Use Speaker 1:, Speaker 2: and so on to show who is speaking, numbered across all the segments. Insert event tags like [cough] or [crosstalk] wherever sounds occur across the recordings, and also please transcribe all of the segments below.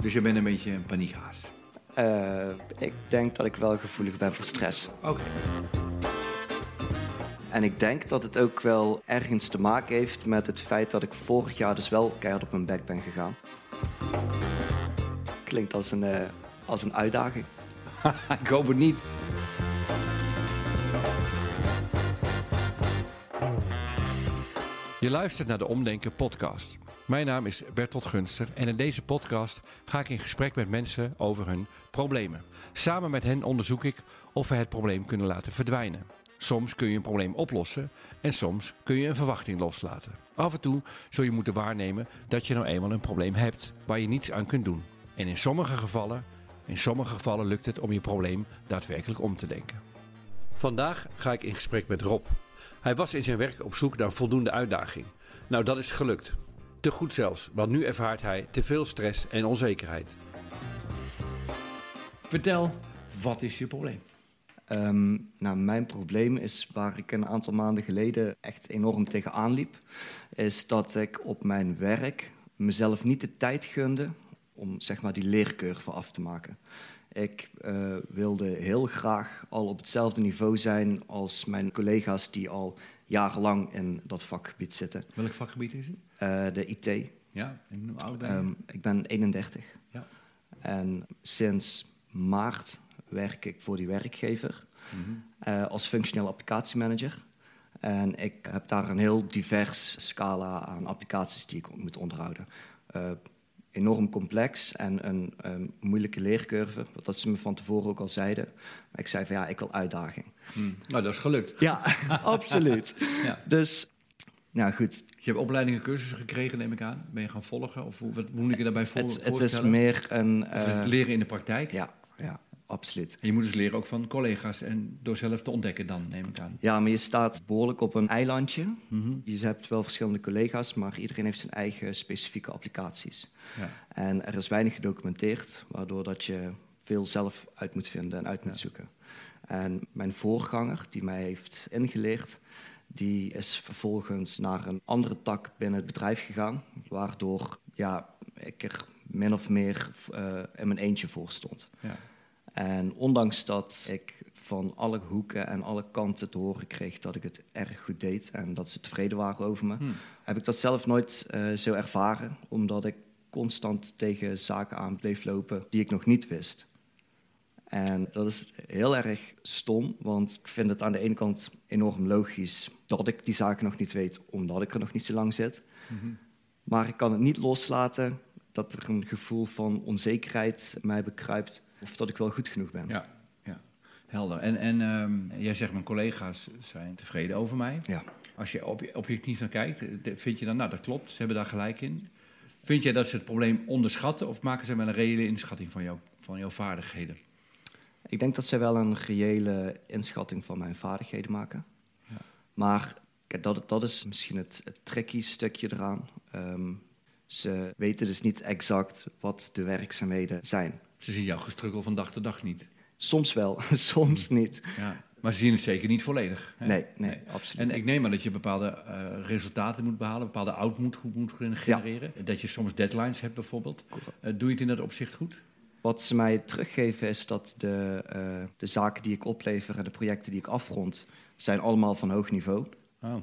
Speaker 1: Dus je bent een beetje een paniekhaas.
Speaker 2: Eh, ik denk dat ik wel gevoelig ben voor stress.
Speaker 1: Oké.
Speaker 2: En ik denk dat het ook wel ergens te maken heeft met het feit dat ik vorig jaar dus wel keihard op mijn bek ben gegaan. Klinkt als een, eh, als een uitdaging.
Speaker 1: Ik hoop het niet.
Speaker 3: Je luistert naar de Omdenken podcast. Mijn naam is Bertolt Gunster en in deze podcast ga ik in gesprek met mensen over hun problemen. Samen met hen onderzoek ik of we het probleem kunnen laten verdwijnen. Soms kun je een probleem oplossen en soms kun je een verwachting loslaten. Af en toe zul je moeten waarnemen dat je nou eenmaal een probleem hebt waar je niets aan kunt doen. En in sommige gevallen, in sommige gevallen lukt het om je probleem daadwerkelijk om te denken. Vandaag ga ik in gesprek met Rob. Hij was in zijn werk op zoek naar voldoende uitdaging. Nou, dat is gelukt. Te goed zelfs, want nu ervaart hij te veel stress en onzekerheid. Vertel, wat is je probleem?
Speaker 2: Ehm, nou, mijn probleem is waar ik een aantal maanden geleden echt enorm tegenaan liep, is dat ik op mijn werk mezelf niet de tijd gunde om zeg maar die leercurve af te maken. Ik eh, wilde heel graag al op hetzelfde niveau zijn als mijn collega's die al jarenlang in dat vakgebied zitten.
Speaker 1: Welk vakgebied is het?
Speaker 2: Eh, de IT.
Speaker 1: Ja, en hoe oud ben je?
Speaker 2: Ehm, ik ben 31.
Speaker 1: ja.
Speaker 2: En sinds maart werk ik voor die werkgever
Speaker 1: Mhm.
Speaker 2: eh, als functioneel applicatiemanager. En ik heb daar een heel divers scala aan applicaties die ik moet onderhouden. Eh, enorm complex en een ehm, moeilijke leercurve. Dat ze me van tevoren ook al zeiden. Maar ik zei van ja, ik wil uitdaging.
Speaker 1: Hm. Nou, dat is gelukt. [laughs]
Speaker 2: Ja, absoluut.
Speaker 1: Ja.
Speaker 2: Dus, nou goed,
Speaker 1: Je hebt opleidingen, cursussen gekregen, neem ik aan. Ben je gaan volgen? Of hoe, wat hoe moet ik je daarbij voor,
Speaker 2: het, het is
Speaker 1: voorstellen?
Speaker 2: meer een...
Speaker 1: Of is
Speaker 2: eh,
Speaker 1: het leren in de praktijk?
Speaker 2: ja, ja, absoluut.
Speaker 1: En je moet dus leren ook van collega's en door zelf te ontdekken dan, neem ik aan.
Speaker 2: Ja, maar je staat behoorlijk op een eilandje.
Speaker 1: Mhm.
Speaker 2: Je hebt wel verschillende collega's, maar iedereen heeft zijn eigen specifieke applicaties.
Speaker 1: Ja.
Speaker 2: En er is weinig gedocumenteerd, waardoor dat je veel zelf uit moet vinden en uit moet zoeken. En mijn voorganger, die mij heeft ingeleerd, die is vervolgens naar een andere tak binnen het bedrijf gegaan, waardoor ja, ik er min of meer eh, in mijn eentje voor stond.
Speaker 1: Ja.
Speaker 2: En ondanks dat ik van alle hoeken en alle kanten te horen kreeg dat ik het erg goed deed en dat ze tevreden waren over me,
Speaker 1: Hmm.
Speaker 2: heb ik dat zelf nooit eh, zo ervaren, omdat ik constant tegen zaken aan bleef lopen die ik nog niet wist. En dat is heel erg stom, want ik vind het aan de ene kant enorm logisch dat ik die zaken nog niet weet, omdat ik er nog niet zo lang zit.
Speaker 1: Mhm.
Speaker 2: Maar ik kan het niet loslaten dat er een gevoel van onzekerheid mij bekruipt of dat ik wel goed genoeg ben.
Speaker 1: Ja, ja. helder. En, en ehm, jij zegt, mijn collega's zijn tevreden over mij.
Speaker 2: Ja.
Speaker 1: Als je ob- objectief naar kijkt, eh, de- vind je dan, nou dat klopt, ze hebben daar gelijk in. Vind jij dat ze het probleem onderschatten of maken ze wel een reële inschatting van, jou, van jouw vaardigheden?
Speaker 2: Ik denk dat zij wel een reële inschatting van mijn vaardigheden maken.
Speaker 1: Ja.
Speaker 2: Maar kijk, dat, dat is misschien het, het tricky stukje eraan. Ehm, ze weten dus niet exact wat de werkzaamheden zijn.
Speaker 1: Ze zien jouw gestrukkel van dag tot dag niet.
Speaker 2: Soms wel, [laughs] soms niet.
Speaker 1: Ja. Maar ze zien het zeker niet volledig. hè?
Speaker 2: Nee, nee, absoluut.
Speaker 1: En ik neem aan dat je bepaalde eh, resultaten moet behalen, bepaalde output goed moet genereren. Dat je soms deadlines hebt bijvoorbeeld. Eh, doe je het in dat opzicht goed?
Speaker 2: Wat ze mij teruggeven is dat de, eh, de zaken die ik oplever en de projecten die ik afrond, zijn allemaal van hoog niveau.
Speaker 1: Oh,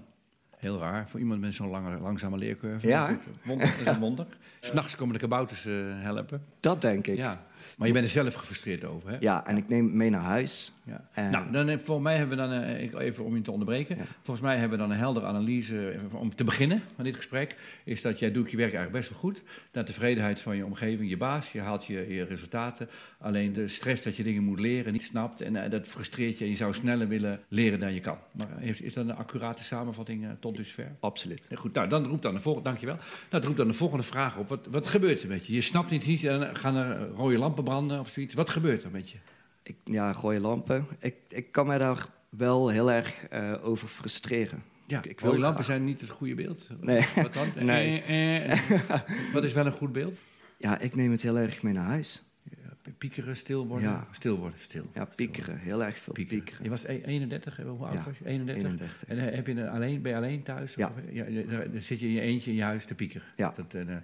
Speaker 1: heel raar. Voor iemand met zo'n lange, langzame leercurve.
Speaker 2: Ja,
Speaker 1: Maar goed, Wonder, dat is een [laughs] wonder. S'nachts komen de kabouters eh, helpen.
Speaker 2: Dat denk ik.
Speaker 1: Ja. Maar je bent er zelf gefrustreerd over, hè?
Speaker 2: Ja, en ik neem het mee naar huis.
Speaker 1: Ja.
Speaker 2: En-
Speaker 1: nou, dan, heb- volgens mij hebben we dan, eh, ik- even om je te onderbreken,
Speaker 2: Ja.
Speaker 1: volgens mij hebben we dan een heldere analyse eh, om te beginnen van dit gesprek, is dat jij doet je werk eigenlijk best wel goed, naar tevredenheid van je omgeving, je baas, je haalt je, je resultaten, alleen de stress dat je dingen moet leren, niet snapt en eh, dat frustreert je en je zou sneller willen leren dan je kan. Maar eh, is, is dat een accurate samenvatting eh, tot dusver?
Speaker 2: Absoluut.
Speaker 1: Goed, nou, dan roept dan de volgende, dankjewel. Nou, het roept dan de volgende vraag op. Wat, wat gebeurt er met je? Je snapt niet iets en dan gaan er eh, rode lampen branden of zoiets. Wat gebeurt er met je?
Speaker 2: Ik, ja, rode lampen. Ik, ik kan mij daar wel heel erg eh, over frustreren.
Speaker 1: Ja,
Speaker 2: Ik- ik wil
Speaker 1: rode lampen
Speaker 2: graag-
Speaker 1: zijn niet het goede beeld.
Speaker 2: Nee. [laughs]
Speaker 1: Wat dan?
Speaker 2: Nee.
Speaker 1: Eh,
Speaker 2: [laughs]
Speaker 1: eh. Wat is wel een goed beeld?
Speaker 2: Ja, ik neem het heel erg mee naar huis.
Speaker 1: Ja, Piekeren, stil worden.
Speaker 2: Ja.
Speaker 1: Stil worden, stil.
Speaker 2: Ja, piekeren. Heel erg veel piekeren.
Speaker 1: Je was e- 31, eh, hoe oud
Speaker 2: Ja,
Speaker 1: was je? 31.
Speaker 2: 31.
Speaker 1: En eh, heb je een alleen, ben je alleen thuis?
Speaker 2: Ja.
Speaker 1: Of, ja, ja, dan zit je in je eentje in je huis te piekeren.
Speaker 2: Ja.
Speaker 1: Dat, eh, eh,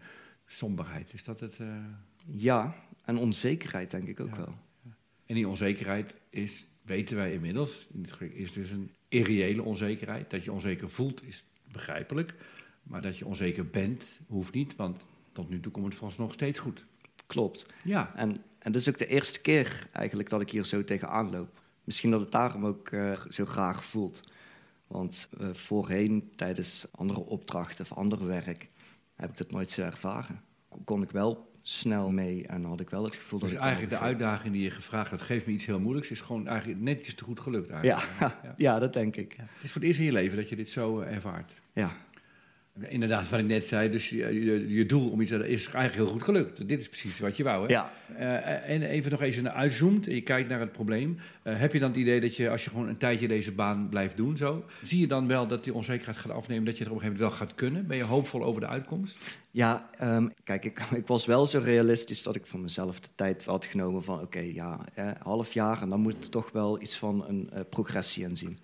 Speaker 1: somberheid. Is dat het? eh?
Speaker 2: Ja, en onzekerheid denk ik ook
Speaker 1: Ja.
Speaker 2: wel.
Speaker 1: En die onzekerheid is, weten wij inmiddels, in het Griek, is dus een irreële onzekerheid. Dat je onzeker voelt is begrijpelijk, maar dat je onzeker bent hoeft niet, want tot nu toe komt het volgens nog steeds goed.
Speaker 2: Klopt.
Speaker 1: Ja,
Speaker 2: En, en dat is ook de eerste keer eigenlijk dat ik hier zo tegenaan loop. Misschien dat het daarom ook eh, zo graag voelt. Want eh, voorheen, tijdens andere opdrachten of ander werk, heb ik dat nooit zo ervaren. Kon- Kon ik wel snel mee en had ik wel het gevoel dat
Speaker 1: dus
Speaker 2: ik...
Speaker 1: eigenlijk de
Speaker 2: wel-
Speaker 1: uitdaging die je gevraagd hebt, geeft me iets heel moeilijks, is gewoon eigenlijk netjes te goed gelukt.
Speaker 2: Ja,
Speaker 1: Eigenlijk. Ja.
Speaker 2: [laughs] ja, dat denk ik. Ja.
Speaker 1: Het is voor het eerst in je leven dat je dit zo eh, ervaart. Inderdaad, wat ik net zei, dus je, je, je doel om iets te is eigenlijk heel goed gelukt. Dit is precies wat je wou, hè?
Speaker 2: Ja.
Speaker 1: Eh, en even nog eens naar uitzoomt en je kijkt naar het probleem. Eh, heb je dan het idee dat je, als je gewoon een tijdje deze baan blijft doen, zo, zie je dan wel dat die onzekerheid gaat afnemen, dat je het op een gegeven moment wel gaat kunnen? Ben je hoopvol over de uitkomst?
Speaker 2: Ja, ehm, kijk, ik, [laughs] ik was wel zo realistisch dat ik voor mezelf de tijd had genomen van... oké, ja, eh, half jaar en dan moet er toch wel iets van een eh, progressie in zien.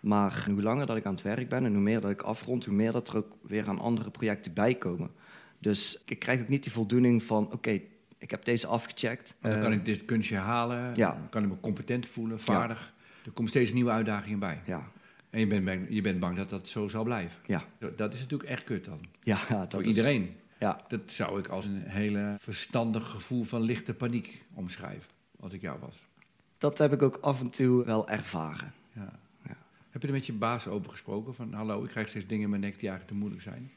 Speaker 2: Maar hoe langer dat ik aan het werk ben en hoe meer dat ik afrond... hoe meer dat er ook weer aan andere projecten bij komen. Dus ik krijg ook niet die voldoening van... oké, ik heb deze afgecheckt.
Speaker 1: Want dan kan
Speaker 2: eh,
Speaker 1: ik dit kunstje halen,
Speaker 2: ja.
Speaker 1: dan kan ik me competent voelen, vaardig. Er komt steeds nieuwe uitdagingen bij.
Speaker 2: Ja,
Speaker 1: En je bent, bang, je bent bang dat dat zo zal blijven.
Speaker 2: ja,
Speaker 1: Dat is natuurlijk echt kut dan,
Speaker 2: ja. [laughs] Dat
Speaker 1: voor
Speaker 2: is-
Speaker 1: iedereen.
Speaker 2: Ja,
Speaker 1: Dat zou ik als een hele verstandig gevoel van lichte paniek omschrijven, als ik jou was.
Speaker 2: dat heb ik ook af en toe wel ervaren.
Speaker 1: Ja.
Speaker 2: Ja.
Speaker 1: Heb je er met je baas over gesproken? Van hallo, ik krijg steeds dingen in mijn nek die eigenlijk te moeilijk zijn.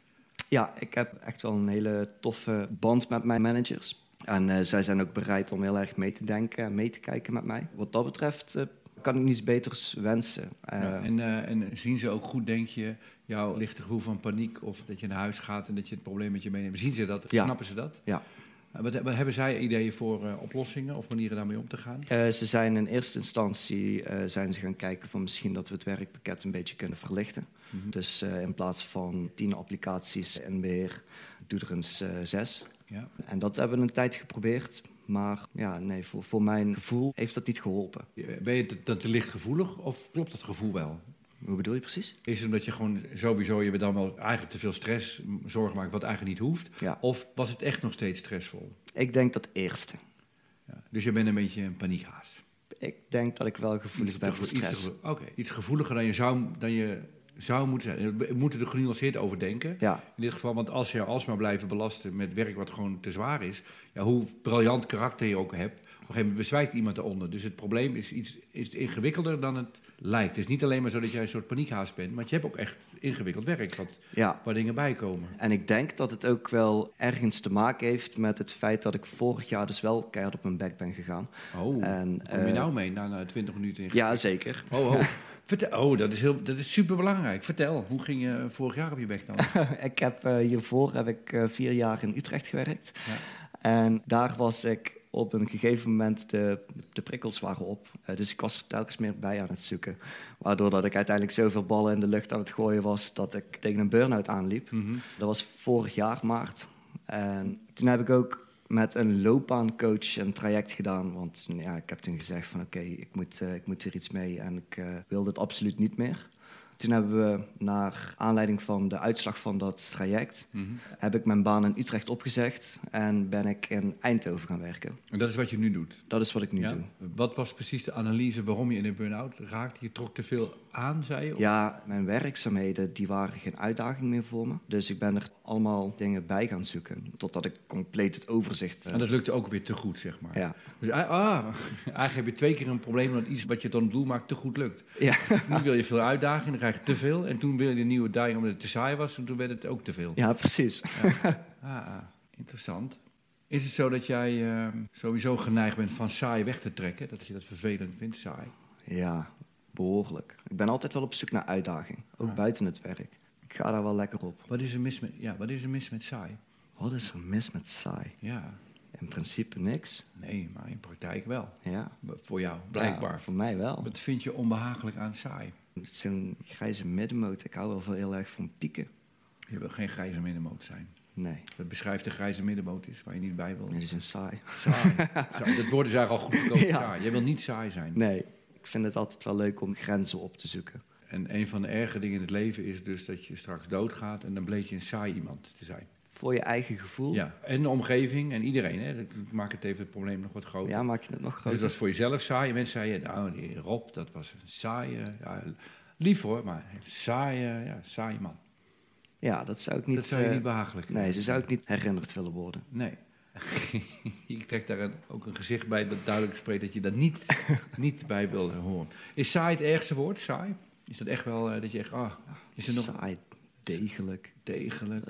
Speaker 2: Ja, ik heb echt wel een hele toffe band met mijn managers. En eh, zij zijn ook bereid om heel erg mee te denken en mee te kijken met mij. Wat dat betreft eh, kan ik niets beters wensen. Eh,
Speaker 1: Ja, en, eh, en zien ze ook goed, denk je, jouw lichte gevoel van paniek of dat je naar huis gaat en dat je het probleem met je meeneemt? Zien ze dat?
Speaker 2: Ja.
Speaker 1: Snappen ze dat?
Speaker 2: Ja.
Speaker 1: En Wat, wat hebben zij ideeën voor eh, oplossingen of manieren daarmee om te gaan?
Speaker 2: eh, ze zijn in eerste instantie eh, zijn ze gaan kijken van misschien dat we het werkpakket een beetje kunnen verlichten.
Speaker 1: Mhm.
Speaker 2: Dus eh, in plaats van tien applicaties in beheer, doe er eens eh, zes.
Speaker 1: Ja.
Speaker 2: En dat hebben we een tijd geprobeerd. Maar ja, nee, voor, voor mijn gevoel heeft dat niet geholpen.
Speaker 1: Ben je te- dan te licht gevoelig of klopt dat gevoel wel?
Speaker 2: Hoe bedoel je precies?
Speaker 1: Is het omdat je gewoon sowieso je dan wel eigenlijk te veel stress, m, zorgen maakt wat eigenlijk niet hoeft?
Speaker 2: Ja,
Speaker 1: Of was het echt nog steeds stressvol?
Speaker 2: ik denk dat eerste.
Speaker 1: Ja. Dus je bent een beetje een paniekhaas.
Speaker 2: Ik denk dat ik wel gevoelig
Speaker 1: Iets
Speaker 2: ben
Speaker 1: te
Speaker 2: voor
Speaker 1: gevoel- iets
Speaker 2: stress.
Speaker 1: te gevoel- Oké, iets gevoeliger dan je zou, dan je zou moeten zijn. We moeten er genuanceerd over denken.
Speaker 2: Ja,
Speaker 1: In dit geval, want als je alsmaar blijven belasten met werk wat gewoon te zwaar is, ja, hoe briljant karakter je ook hebt, op een gegeven moment bezwijkt iemand eronder. Dus het probleem is iets is ingewikkelder dan het lijkt. Het is niet alleen maar zo dat jij een soort paniekhaas bent, want je hebt ook echt ingewikkeld werk, wat,
Speaker 2: ja.
Speaker 1: waar dingen bij komen.
Speaker 2: En ik denk dat het ook wel ergens te maken heeft met het feit dat ik vorig jaar dus wel keihard op mijn bek ben gegaan.
Speaker 1: Oh,
Speaker 2: En,
Speaker 1: kom je
Speaker 2: eh,
Speaker 1: nou mee na, na 20 minuten? in-
Speaker 2: Ja, zeker. [laughs]
Speaker 1: Oh, oh. [laughs] Vertel, oh dat, is heel, dat is superbelangrijk. Vertel, hoe ging je vorig jaar op je
Speaker 2: [laughs]
Speaker 1: bek dan?
Speaker 2: ik heb, eh, hiervoor heb ik eh, vier jaar in Utrecht gewerkt.
Speaker 1: Ja.
Speaker 2: En daar was ik op een gegeven moment, de, de prikkels waren op. Eh, dus ik was er telkens meer bij aan het zoeken. Waardoor dat ik uiteindelijk zoveel ballen in de lucht aan het gooien was... dat ik tegen een burn-out aanliep.
Speaker 1: Mhm.
Speaker 2: Dat was vorig jaar maart. En toen heb ik ook met een loopbaancoach een traject gedaan. Want nou ja, ik heb toen gezegd van oké, ik, moet, eh, ik moet hier iets mee en ik eh, wil dit absoluut niet meer. Toen hebben we naar aanleiding van de uitslag van dat traject...
Speaker 1: Mhm.
Speaker 2: heb ik mijn baan in Utrecht opgezegd en ben ik in Eindhoven gaan werken.
Speaker 1: En dat is wat je nu doet.
Speaker 2: Dat is wat ik nu
Speaker 1: Ja?
Speaker 2: doe.
Speaker 1: Wat was precies de analyse waarom je in een burn-out raakte? Je trok te veel aan, zei je? Of-
Speaker 2: Ja, mijn werkzaamheden die waren geen uitdaging meer voor me. Dus ik ben er allemaal dingen bij gaan zoeken. Totdat ik compleet het overzicht... eh,
Speaker 1: En dat lukte ook weer te goed, zeg maar.
Speaker 2: ja.
Speaker 1: Dus ah, ah, eigenlijk heb je twee keer een probleem omdat iets wat je dan doel maakt te goed lukt.
Speaker 2: Ja.
Speaker 1: Nu wil je veel uitdaging, dan krijg je te veel. En toen wil je een nieuwe die omdat het te saai was en toen werd het ook te veel.
Speaker 2: ja, precies.
Speaker 1: Ah, ah, interessant. Is het zo dat jij eh, sowieso geneigd bent van saai weg te trekken? Dat je dat vervelend vindt, saai?
Speaker 2: Ja, behoorlijk. Ik ben altijd wel op zoek naar uitdaging, ook
Speaker 1: Ja.
Speaker 2: buiten het werk. Ik ga daar wel lekker op.
Speaker 1: Wat is er mis met, ja, wat is er mis met saai?
Speaker 2: Wat is er mis met saai?
Speaker 1: Ja,
Speaker 2: In principe niks.
Speaker 1: nee, maar in praktijk wel.
Speaker 2: Ja.
Speaker 1: Voor jou, blijkbaar.
Speaker 2: Ja, voor mij wel.
Speaker 1: Wat vind je onbehagelijk aan saai?
Speaker 2: Het is zo'n grijze middenmoot. Ik hou wel van- heel erg van pieken.
Speaker 1: Je wil geen grijze middenmoot zijn.
Speaker 2: Nee,
Speaker 1: Dat beschrijft de grijze middenmoot is waar je niet bij wil.
Speaker 2: nee, die zijn saai.
Speaker 1: Saai. Saai. Dat woord is eigenlijk al goed verkocht.
Speaker 2: [laughs] Ja.
Speaker 1: Saai. Je wil niet saai zijn.
Speaker 2: Nee, ik vind het altijd wel leuk om grenzen op te zoeken.
Speaker 1: En een van de erge dingen in het leven is dus dat je straks doodgaat en dan bleek je een saai iemand te zijn.
Speaker 2: voor je eigen gevoel.
Speaker 3: Ja, en de omgeving en iedereen. Hè. Dat maakt het even het probleem nog wat groter.
Speaker 2: Ja, maak je het nog
Speaker 3: dus
Speaker 2: groter.
Speaker 3: dat was voor jezelf saai. Mensen zeiden, nou, die Rob, dat was een saaie... Ja, lief hoor, maar een
Speaker 1: eh,
Speaker 3: saaie, ja, saaie man.
Speaker 2: Ja, dat zou ik niet...
Speaker 3: dat zou je
Speaker 2: eh,
Speaker 3: niet behagelijk
Speaker 2: nee, ze zou ik niet herinnerd willen worden.
Speaker 3: Nee. [laughs] ik trek daar een- ook een gezicht bij dat duidelijk spreekt dat je daar niet, [laughs] niet bij wil horen. Is saai het ergste woord? Saai? Is dat echt wel eh, dat je echt, ah, is het nog
Speaker 2: Saai, degelijk. Eh,
Speaker 3: degelijk,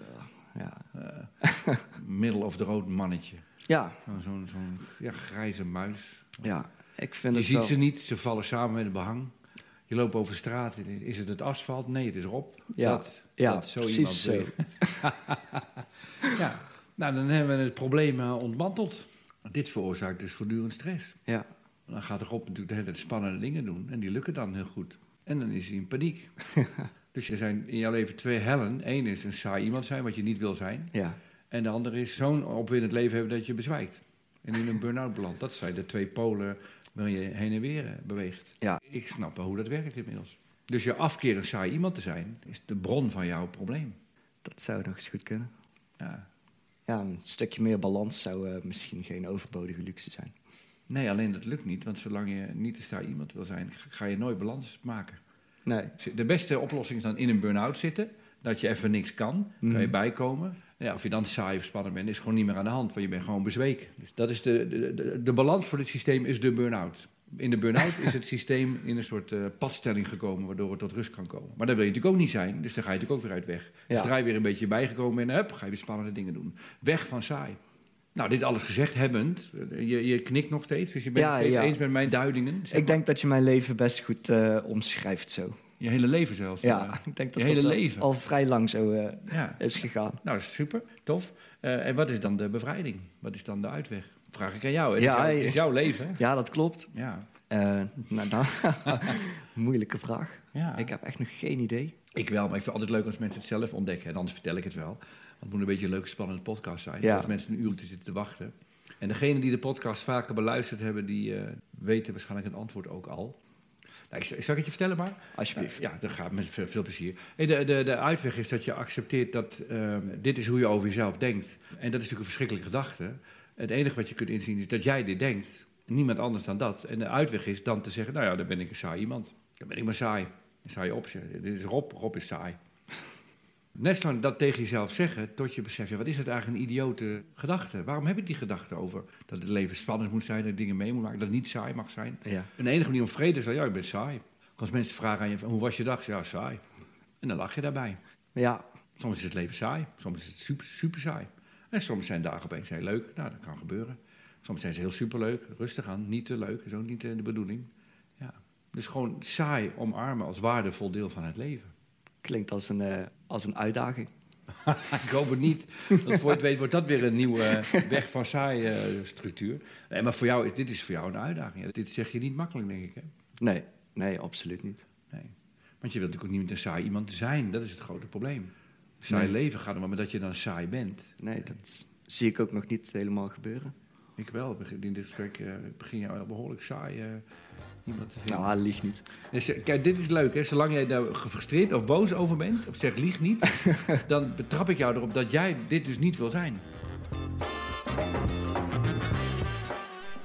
Speaker 2: Ja,
Speaker 3: Eh, [laughs] middel of de rood mannetje?
Speaker 2: ja,
Speaker 3: Zo'n zo'n zo'n, ja, grijze muis.
Speaker 2: ja. ik vind
Speaker 3: Je
Speaker 2: het
Speaker 3: ziet
Speaker 2: wel...
Speaker 3: ze niet, ze vallen samen met het behang. Je loopt over de straat, is het het asfalt? Nee, het is Rob.
Speaker 2: Ja,
Speaker 3: dat,
Speaker 2: ja,
Speaker 3: dat zo
Speaker 2: precies
Speaker 3: iemand wil je. ja, nou dan hebben we het probleem eh, ontmanteld. Dit veroorzaakt dus voortdurend stress.
Speaker 2: [laughs] Ja,
Speaker 3: Dan gaat Rob natuurlijk de hele tijd spannende dingen doen. En die lukken dan heel goed. En dan is hij
Speaker 2: [laughs]
Speaker 3: in paniek. dus er zijn in jouw leven twee hellen. Eén is een saai iemand zijn, wat je niet wil zijn.
Speaker 2: ja,
Speaker 3: En de andere is zo'n opwindend leven hebben dat je bezwijkt. En in een burn-out belandt. Dat zijn de twee polen waar je heen en weer eh, beweegt.
Speaker 2: Ja.
Speaker 3: Ik snap wel hoe dat werkt inmiddels. Dus je afkeer een saai iemand te zijn, is de bron van jouw probleem.
Speaker 2: dat zou nog eens goed kunnen.
Speaker 3: Ja.
Speaker 2: Ja, een stukje meer balans zou eh, misschien geen overbodige luxe zijn.
Speaker 3: Nee, alleen dat lukt niet. Want zolang je niet een saai iemand wil zijn, ga je nooit balans maken.
Speaker 2: Nee,
Speaker 3: De beste oplossing is dan in een burn-out zitten. Dat je even niks kan.
Speaker 2: Mm.
Speaker 3: Kan je bijkomen. Nou Ja, of je dan saai of spannend bent, is gewoon niet meer aan de hand. Want je bent gewoon bezweken. Dus dat is de, de, de, de balans voor dit systeem is de burn-out. In de burn-out
Speaker 2: [laughs]
Speaker 3: is het systeem in een soort eh, padstelling gekomen... waardoor het tot rust kan komen. Maar dat wil je natuurlijk ook niet zijn. Dus daar ga je natuurlijk ook weer uit weg.
Speaker 2: Ja.
Speaker 3: Zodra je weer een beetje bijgekomen bent... Hup, ga je weer spannende dingen doen. Weg van saai. Nou, dit alles gezegd hebbend. eh, Je, je knikt nog steeds. Dus je bent
Speaker 2: Ja,
Speaker 3: het steeds
Speaker 2: ja.
Speaker 3: eens met mijn duidingen. zeg
Speaker 2: ik denk dat je mijn leven best goed eh, omschrijft zo.
Speaker 3: maar. Je hele leven zelfs. eh,
Speaker 2: Ja, [laughs] ik denk dat
Speaker 3: je hele
Speaker 2: dat al-
Speaker 3: leven.
Speaker 2: al vrij lang zo eh,
Speaker 3: ja.
Speaker 2: is gegaan.
Speaker 3: Nou, super, tof. Eh, en wat is dan de bevrijding? Wat is dan de uitweg? Vraag ik aan jou. Het,
Speaker 2: Ja,
Speaker 3: is, jouw, het
Speaker 2: ja.
Speaker 3: is jouw leven. hè?
Speaker 2: Ja, dat klopt.
Speaker 3: Ja.
Speaker 2: Eh, nou, dan- [laughs] moeilijke vraag.
Speaker 3: ja.
Speaker 2: Ik
Speaker 3: Ik,
Speaker 2: heb echt nog geen idee.
Speaker 3: wel, maar ik vind het altijd leuk als mensen het zelf ontdekken. En anders vertel ik het wel. Want het moet een beetje een leuke, spannende podcast zijn.
Speaker 2: Ja.
Speaker 3: Als mensen een uur te zitten te wachten. En degenen die de podcast vaker beluisterd hebben, die eh, weten waarschijnlijk het antwoord ook al. Nou, ik, zal ik het je vertellen maar?
Speaker 2: Alsjeblieft.
Speaker 3: Ja, dat gaat met veel, veel plezier. Hey, De, de, de uitweg is dat je accepteert dat ehm, dit is hoe je over jezelf denkt. En dat is natuurlijk een verschrikkelijke gedachte. Het enige wat je kunt inzien is dat jij dit denkt. Niemand anders dan dat. En de uitweg is dan te zeggen, nou ja, dan ben ik een saai iemand. Dan ben ik maar saai. Een saaie optie. Dit is Rob, Rob is saai. [laughs] Net zolang dat tegen jezelf zeggen, tot je beseft, ja, wat is het eigenlijk een idiote gedachte? Waarom heb ik die gedachte over dat het leven spannend moet zijn, dat ik dingen mee moet maken, dat het niet saai mag zijn?
Speaker 2: Ja,
Speaker 3: En de enige manier om vrede te zijn, ja, ik ben saai. Als mensen vragen aan je, van, hoe was je dag? Ja, saai. En dan lach je daarbij.
Speaker 2: ja,
Speaker 3: Soms is het leven saai, soms is het super, super saai. En soms zijn dagen opeens heel leuk, nou, dat kan gebeuren. Soms zijn ze heel superleuk, rustig aan, niet te leuk, is ook niet eh, de bedoeling. Ja. Dus gewoon saai omarmen als waardevol deel van het leven. [laughs]
Speaker 2: klinkt als een, eh, als een uitdaging.
Speaker 3: Ik hoop het niet. Want voor je het weet wordt dat weer een nieuwe eh, weg van saai eh, structuur. Nee, maar voor jou, is- dit is voor jou een uitdaging. Ja, Dit zeg je niet makkelijk, denk ik. Hè?
Speaker 2: Nee, nee, absoluut niet.
Speaker 3: Nee. Want je wilt natuurlijk ook niet met een saai iemand zijn. Dat is het grote probleem. Saai
Speaker 2: Nee.
Speaker 3: leven gaat erom, maar dat je dan saai bent.
Speaker 2: Nee, dat zie ik ook nog niet helemaal gebeuren.
Speaker 3: Ik wel. Begin- In dit gesprek eh, begin je al behoorlijk saai eh, iemand te vinden.
Speaker 2: Nou, hij liegt niet.
Speaker 3: Dus, eh, kijk, dit is leuk. Hè? Zolang jij daar gefrustreerd of boos over bent, of zeg lieg
Speaker 2: [laughs]
Speaker 3: niet... dan betrap ik jou erop dat jij dit dus niet wil zijn.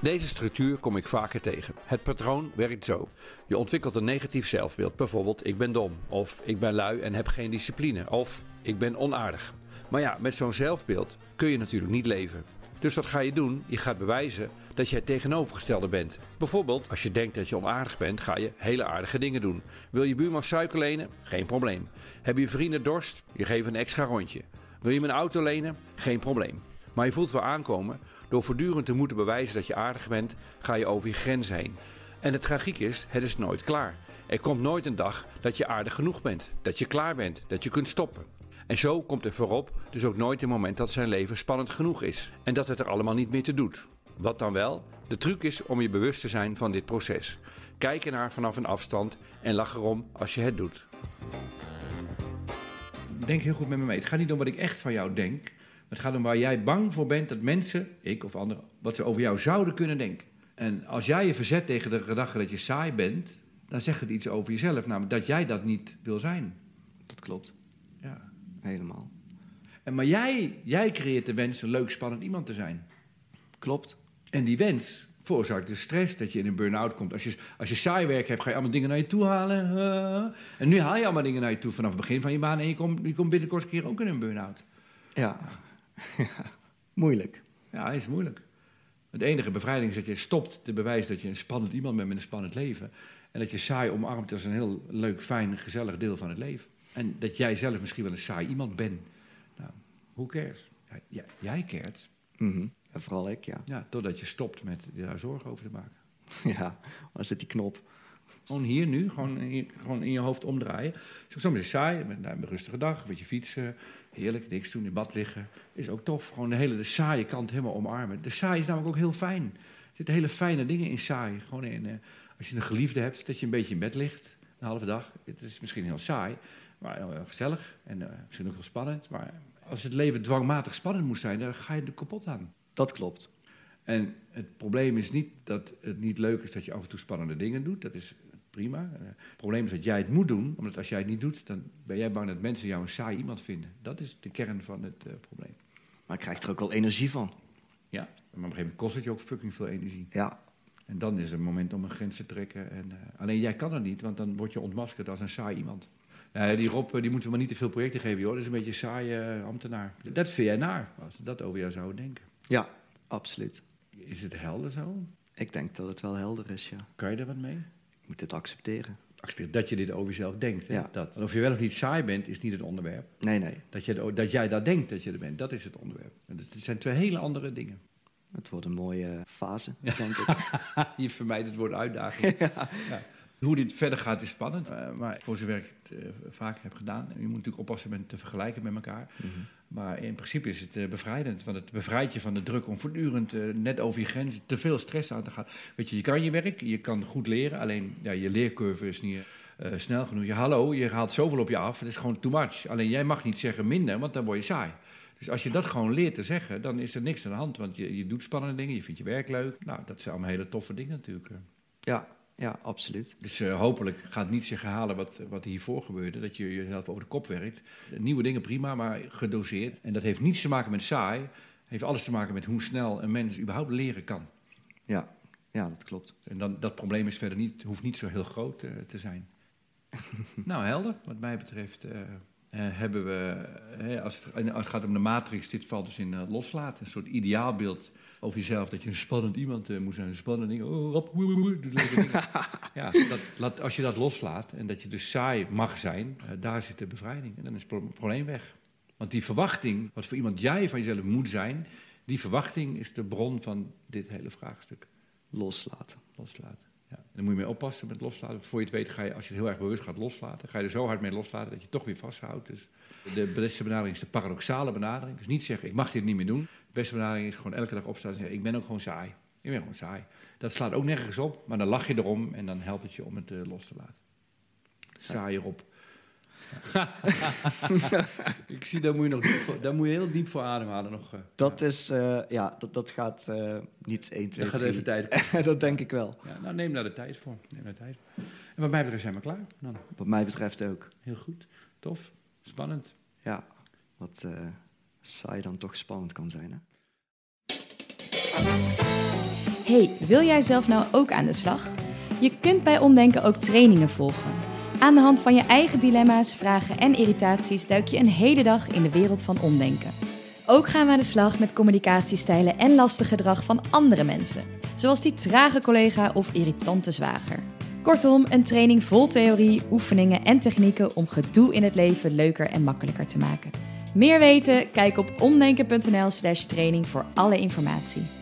Speaker 1: Deze structuur kom ik vaker tegen. Het patroon werkt zo. Je ontwikkelt een negatief zelfbeeld. Bijvoorbeeld, ik ben dom. Of ik ben lui en heb geen discipline. Of ik ben onaardig. Maar ja, met zo'n zelfbeeld kun je natuurlijk niet leven. Dus wat ga je doen? Je gaat bewijzen dat je het tegenovergestelde bent. Bijvoorbeeld, als je denkt dat je onaardig bent, ga je hele aardige dingen doen. Wil je buurman suiker lenen? Geen probleem. Heb je vrienden dorst? Je geeft een extra rondje. Wil je mijn auto lenen? Geen probleem. Maar je voelt wel aankomen. Door voortdurend te moeten bewijzen dat je aardig bent, ga je over je grens heen. En het tragiek is, het is nooit klaar. Er komt nooit een dag dat je aardig genoeg bent, dat je klaar bent, dat je kunt stoppen. En zo komt er voorop dus ook nooit een moment dat zijn leven spannend genoeg is en dat het er allemaal niet meer te doet. Wat dan wel? De truc is om je bewust te zijn van dit proces. Kijk ernaar vanaf een afstand en lach erom als je het doet.
Speaker 3: Denk heel goed met me mee. Het gaat niet om wat ik echt van jou denk. maar Het gaat om waar jij bang voor bent dat mensen, ik of anderen, wat ze over jou zouden kunnen denken. En als jij je verzet tegen de gedachte dat je saai bent, dan zegt het iets over jezelf. Namelijk dat jij dat niet wil zijn.
Speaker 2: Dat klopt.
Speaker 3: Ja.
Speaker 2: Helemaal.
Speaker 1: En, maar jij, jij creëert de wens een leuk, spannend iemand te zijn.
Speaker 2: Klopt.
Speaker 1: En die wens veroorzaakt de stress dat je in een burn-out komt. Als je, als je saai werk hebt, ga je allemaal dingen naar je toe halen. eh. en nu haal je allemaal dingen naar je toe vanaf het begin van je baan. En je komt je komt binnenkort een keer ook in een burn-out.
Speaker 2: Ja. [laughs] Moeilijk.
Speaker 1: Ja, is moeilijk. Het enige bevrijding is dat je stopt te bewijzen dat je een spannend iemand bent met een spannend leven. En dat je saai omarmt als een heel leuk, fijn, gezellig deel van het leven. En dat jij zelf misschien wel een saai iemand bent. Nou, who cares? Ja, jij- jij cares.
Speaker 2: Mhm. Ja, vooral ik, ja. [laughs]
Speaker 1: Ja, totdat je stopt met je daar zorgen over te maken.
Speaker 2: ja. Waar zit die knop?
Speaker 1: Gewoon hier nu, gewoon in, gewoon in je hoofd omdraaien. Zo- Soms is het saai, met nou, een rustige dag, een beetje fietsen. Heerlijk, niks doen, in bad liggen. Is ook tof. Gewoon de hele de saaie kant helemaal omarmen. De saai is namelijk ook heel fijn. Er zitten hele fijne dingen in saai. Gewoon in, eh, als je een geliefde hebt, dat je een beetje in bed ligt. Een halve dag. Het is misschien heel saai, maar heel, heel gezellig. En eh, misschien ook heel spannend. Maar als het leven dwangmatig spannend moet zijn, dan ga je er kapot aan.
Speaker 2: Dat klopt.
Speaker 1: En het probleem is niet dat het niet leuk is dat je af en toe spannende dingen doet. Dat is prima. Eh, Het probleem is dat jij het moet doen. Omdat als jij het niet doet, dan ben jij bang dat mensen jou een saai iemand vinden. Dat is de kern van het eh, probleem.
Speaker 2: Maar ik krijg er ook wel energie van.
Speaker 1: Ja, maar op een gegeven moment kost het je ook fucking veel energie.
Speaker 2: Ja.
Speaker 1: En dan is het moment om een grens te trekken. En, eh, alleen jij kan het niet, want dan word je ontmaskerd als een saai iemand. Nee, die Rob, eh, die moeten we maar niet te veel projecten geven, joh. Dat is een beetje een saaie eh, ambtenaar. Dat vind jij naar, als ze dat over jou zouden denken.
Speaker 2: Ja, absoluut.
Speaker 1: Is het helder zo?
Speaker 2: Ik denk dat het wel helder is, ja.
Speaker 1: Kan je daar wat mee?
Speaker 2: Ik moet het accepteren.
Speaker 1: accepteer dat je dit over jezelf denkt. Hè?
Speaker 2: Ja.
Speaker 1: Dat. En of je wel of niet saai bent, is niet het onderwerp.
Speaker 2: Nee, nee.
Speaker 1: Dat, je, het- dat jij dat denkt dat je er bent, dat is het onderwerp. En dat zijn twee hele andere dingen.
Speaker 2: Het wordt een mooie fase, denk [laughs] ik.
Speaker 1: je vermijdt het woord [laughs] uitdaging. Ja. Hoe dit verder gaat is spannend. eh, maar voor zover ik het eh, vaak heb gedaan. En je moet natuurlijk oppassen met te vergelijken met elkaar. Maar in principe is het eh, bevrijdend. Want het bevrijdt je van de druk om voortdurend eh, net over je grens te veel stress aan te gaan. Weet je, je kan je werk, je kan goed leren. Alleen ja, je leercurve is niet eh, snel genoeg. Je, hallo, je haalt zoveel op je af. Het is gewoon too much. Alleen jij mag niet zeggen minder, want dan word je saai. Dus als je dat gewoon leert te zeggen, dan is er niks aan de hand. Want je, je doet spannende dingen, je vindt je werk leuk. Nou, dat zijn allemaal hele toffe dingen natuurlijk. eh.
Speaker 2: Ja, ja, absoluut.
Speaker 1: Dus eh, hopelijk gaat niet zich herhalen wat, wat hiervoor gebeurde. Dat je jezelf over de kop werkt. Nieuwe dingen prima, maar gedoseerd. En dat heeft niets te maken met saai. Heeft alles te maken met hoe snel een mens überhaupt leren kan.
Speaker 2: Ja, ja dat klopt.
Speaker 1: En dan, dat probleem is verder niet, hoeft niet zo heel groot eh, te zijn. nou, helder. Wat mij betreft eh, eh, hebben we, eh, hè, als, het, en als het gaat om de matrix, dit valt dus in eh, loslaten. Een soort ideaalbeeld over jezelf, dat je een spannend iemand eh, moet zijn. Een spannend ding. Oh, rap, woe, woe, woe, doe leuke dingen. ja, dat, laat, als je dat loslaat en dat je dus saai mag zijn, eh, daar zit de bevrijding. En dan is het pro- probleem weg. Want die verwachting, wat voor iemand jij van jezelf moet zijn, die verwachting is de bron van dit hele vraagstuk
Speaker 2: Loslaten.
Speaker 1: loslaten. Ja. En dan moet je mee oppassen met loslaten. Voor je het weet ga je, als je het heel erg bewust gaat loslaten, ga je er zo hard mee loslaten dat je het toch weer vasthoudt. Dus de beste benadering is de paradoxale benadering. Dus niet zeggen, ik mag dit niet meer doen. De beste benadering is gewoon elke dag opstaan en zeggen, ik ben ook gewoon saai. Ik ben gewoon saai. Dat slaat ook nergens op, maar dan lach je erom en dan helpt het je om het eh, los te laten. Saai erop. [laughs] ik zie, daar moet, je nog diep voor- daar moet je heel diep voor ademhalen nog. eh.
Speaker 2: Dat is, eh, ja, dat, dat gaat eh, niet 1, 2,
Speaker 1: dat gaat
Speaker 2: 3.
Speaker 1: even tijd
Speaker 2: [laughs] dat denk ik wel.
Speaker 1: Ja, nou, neem daar de tijd voor. Neem daar de tijd. voor. En wat mij betreft zijn we klaar. Dan
Speaker 2: Wat mij betreft ook.
Speaker 1: heel goed. Tof. Spannend.
Speaker 2: Ja, wat eh, saai dan toch spannend kan zijn, hè?
Speaker 4: Hey, wil jij zelf nou ook aan de slag? Je kunt bij Omdenken ook trainingen volgen. Aan de hand van je eigen dilemma's, vragen en irritaties duik je een hele dag in de wereld van omdenken. Ook gaan we aan de slag met communicatiestijlen en lastig gedrag van andere mensen, zoals die trage collega of irritante zwager. Kortom, een training vol theorie, oefeningen en technieken om gedoe in het leven leuker en makkelijker te maken. Meer weten? Kijk op omdenken.nl/slash training voor alle informatie.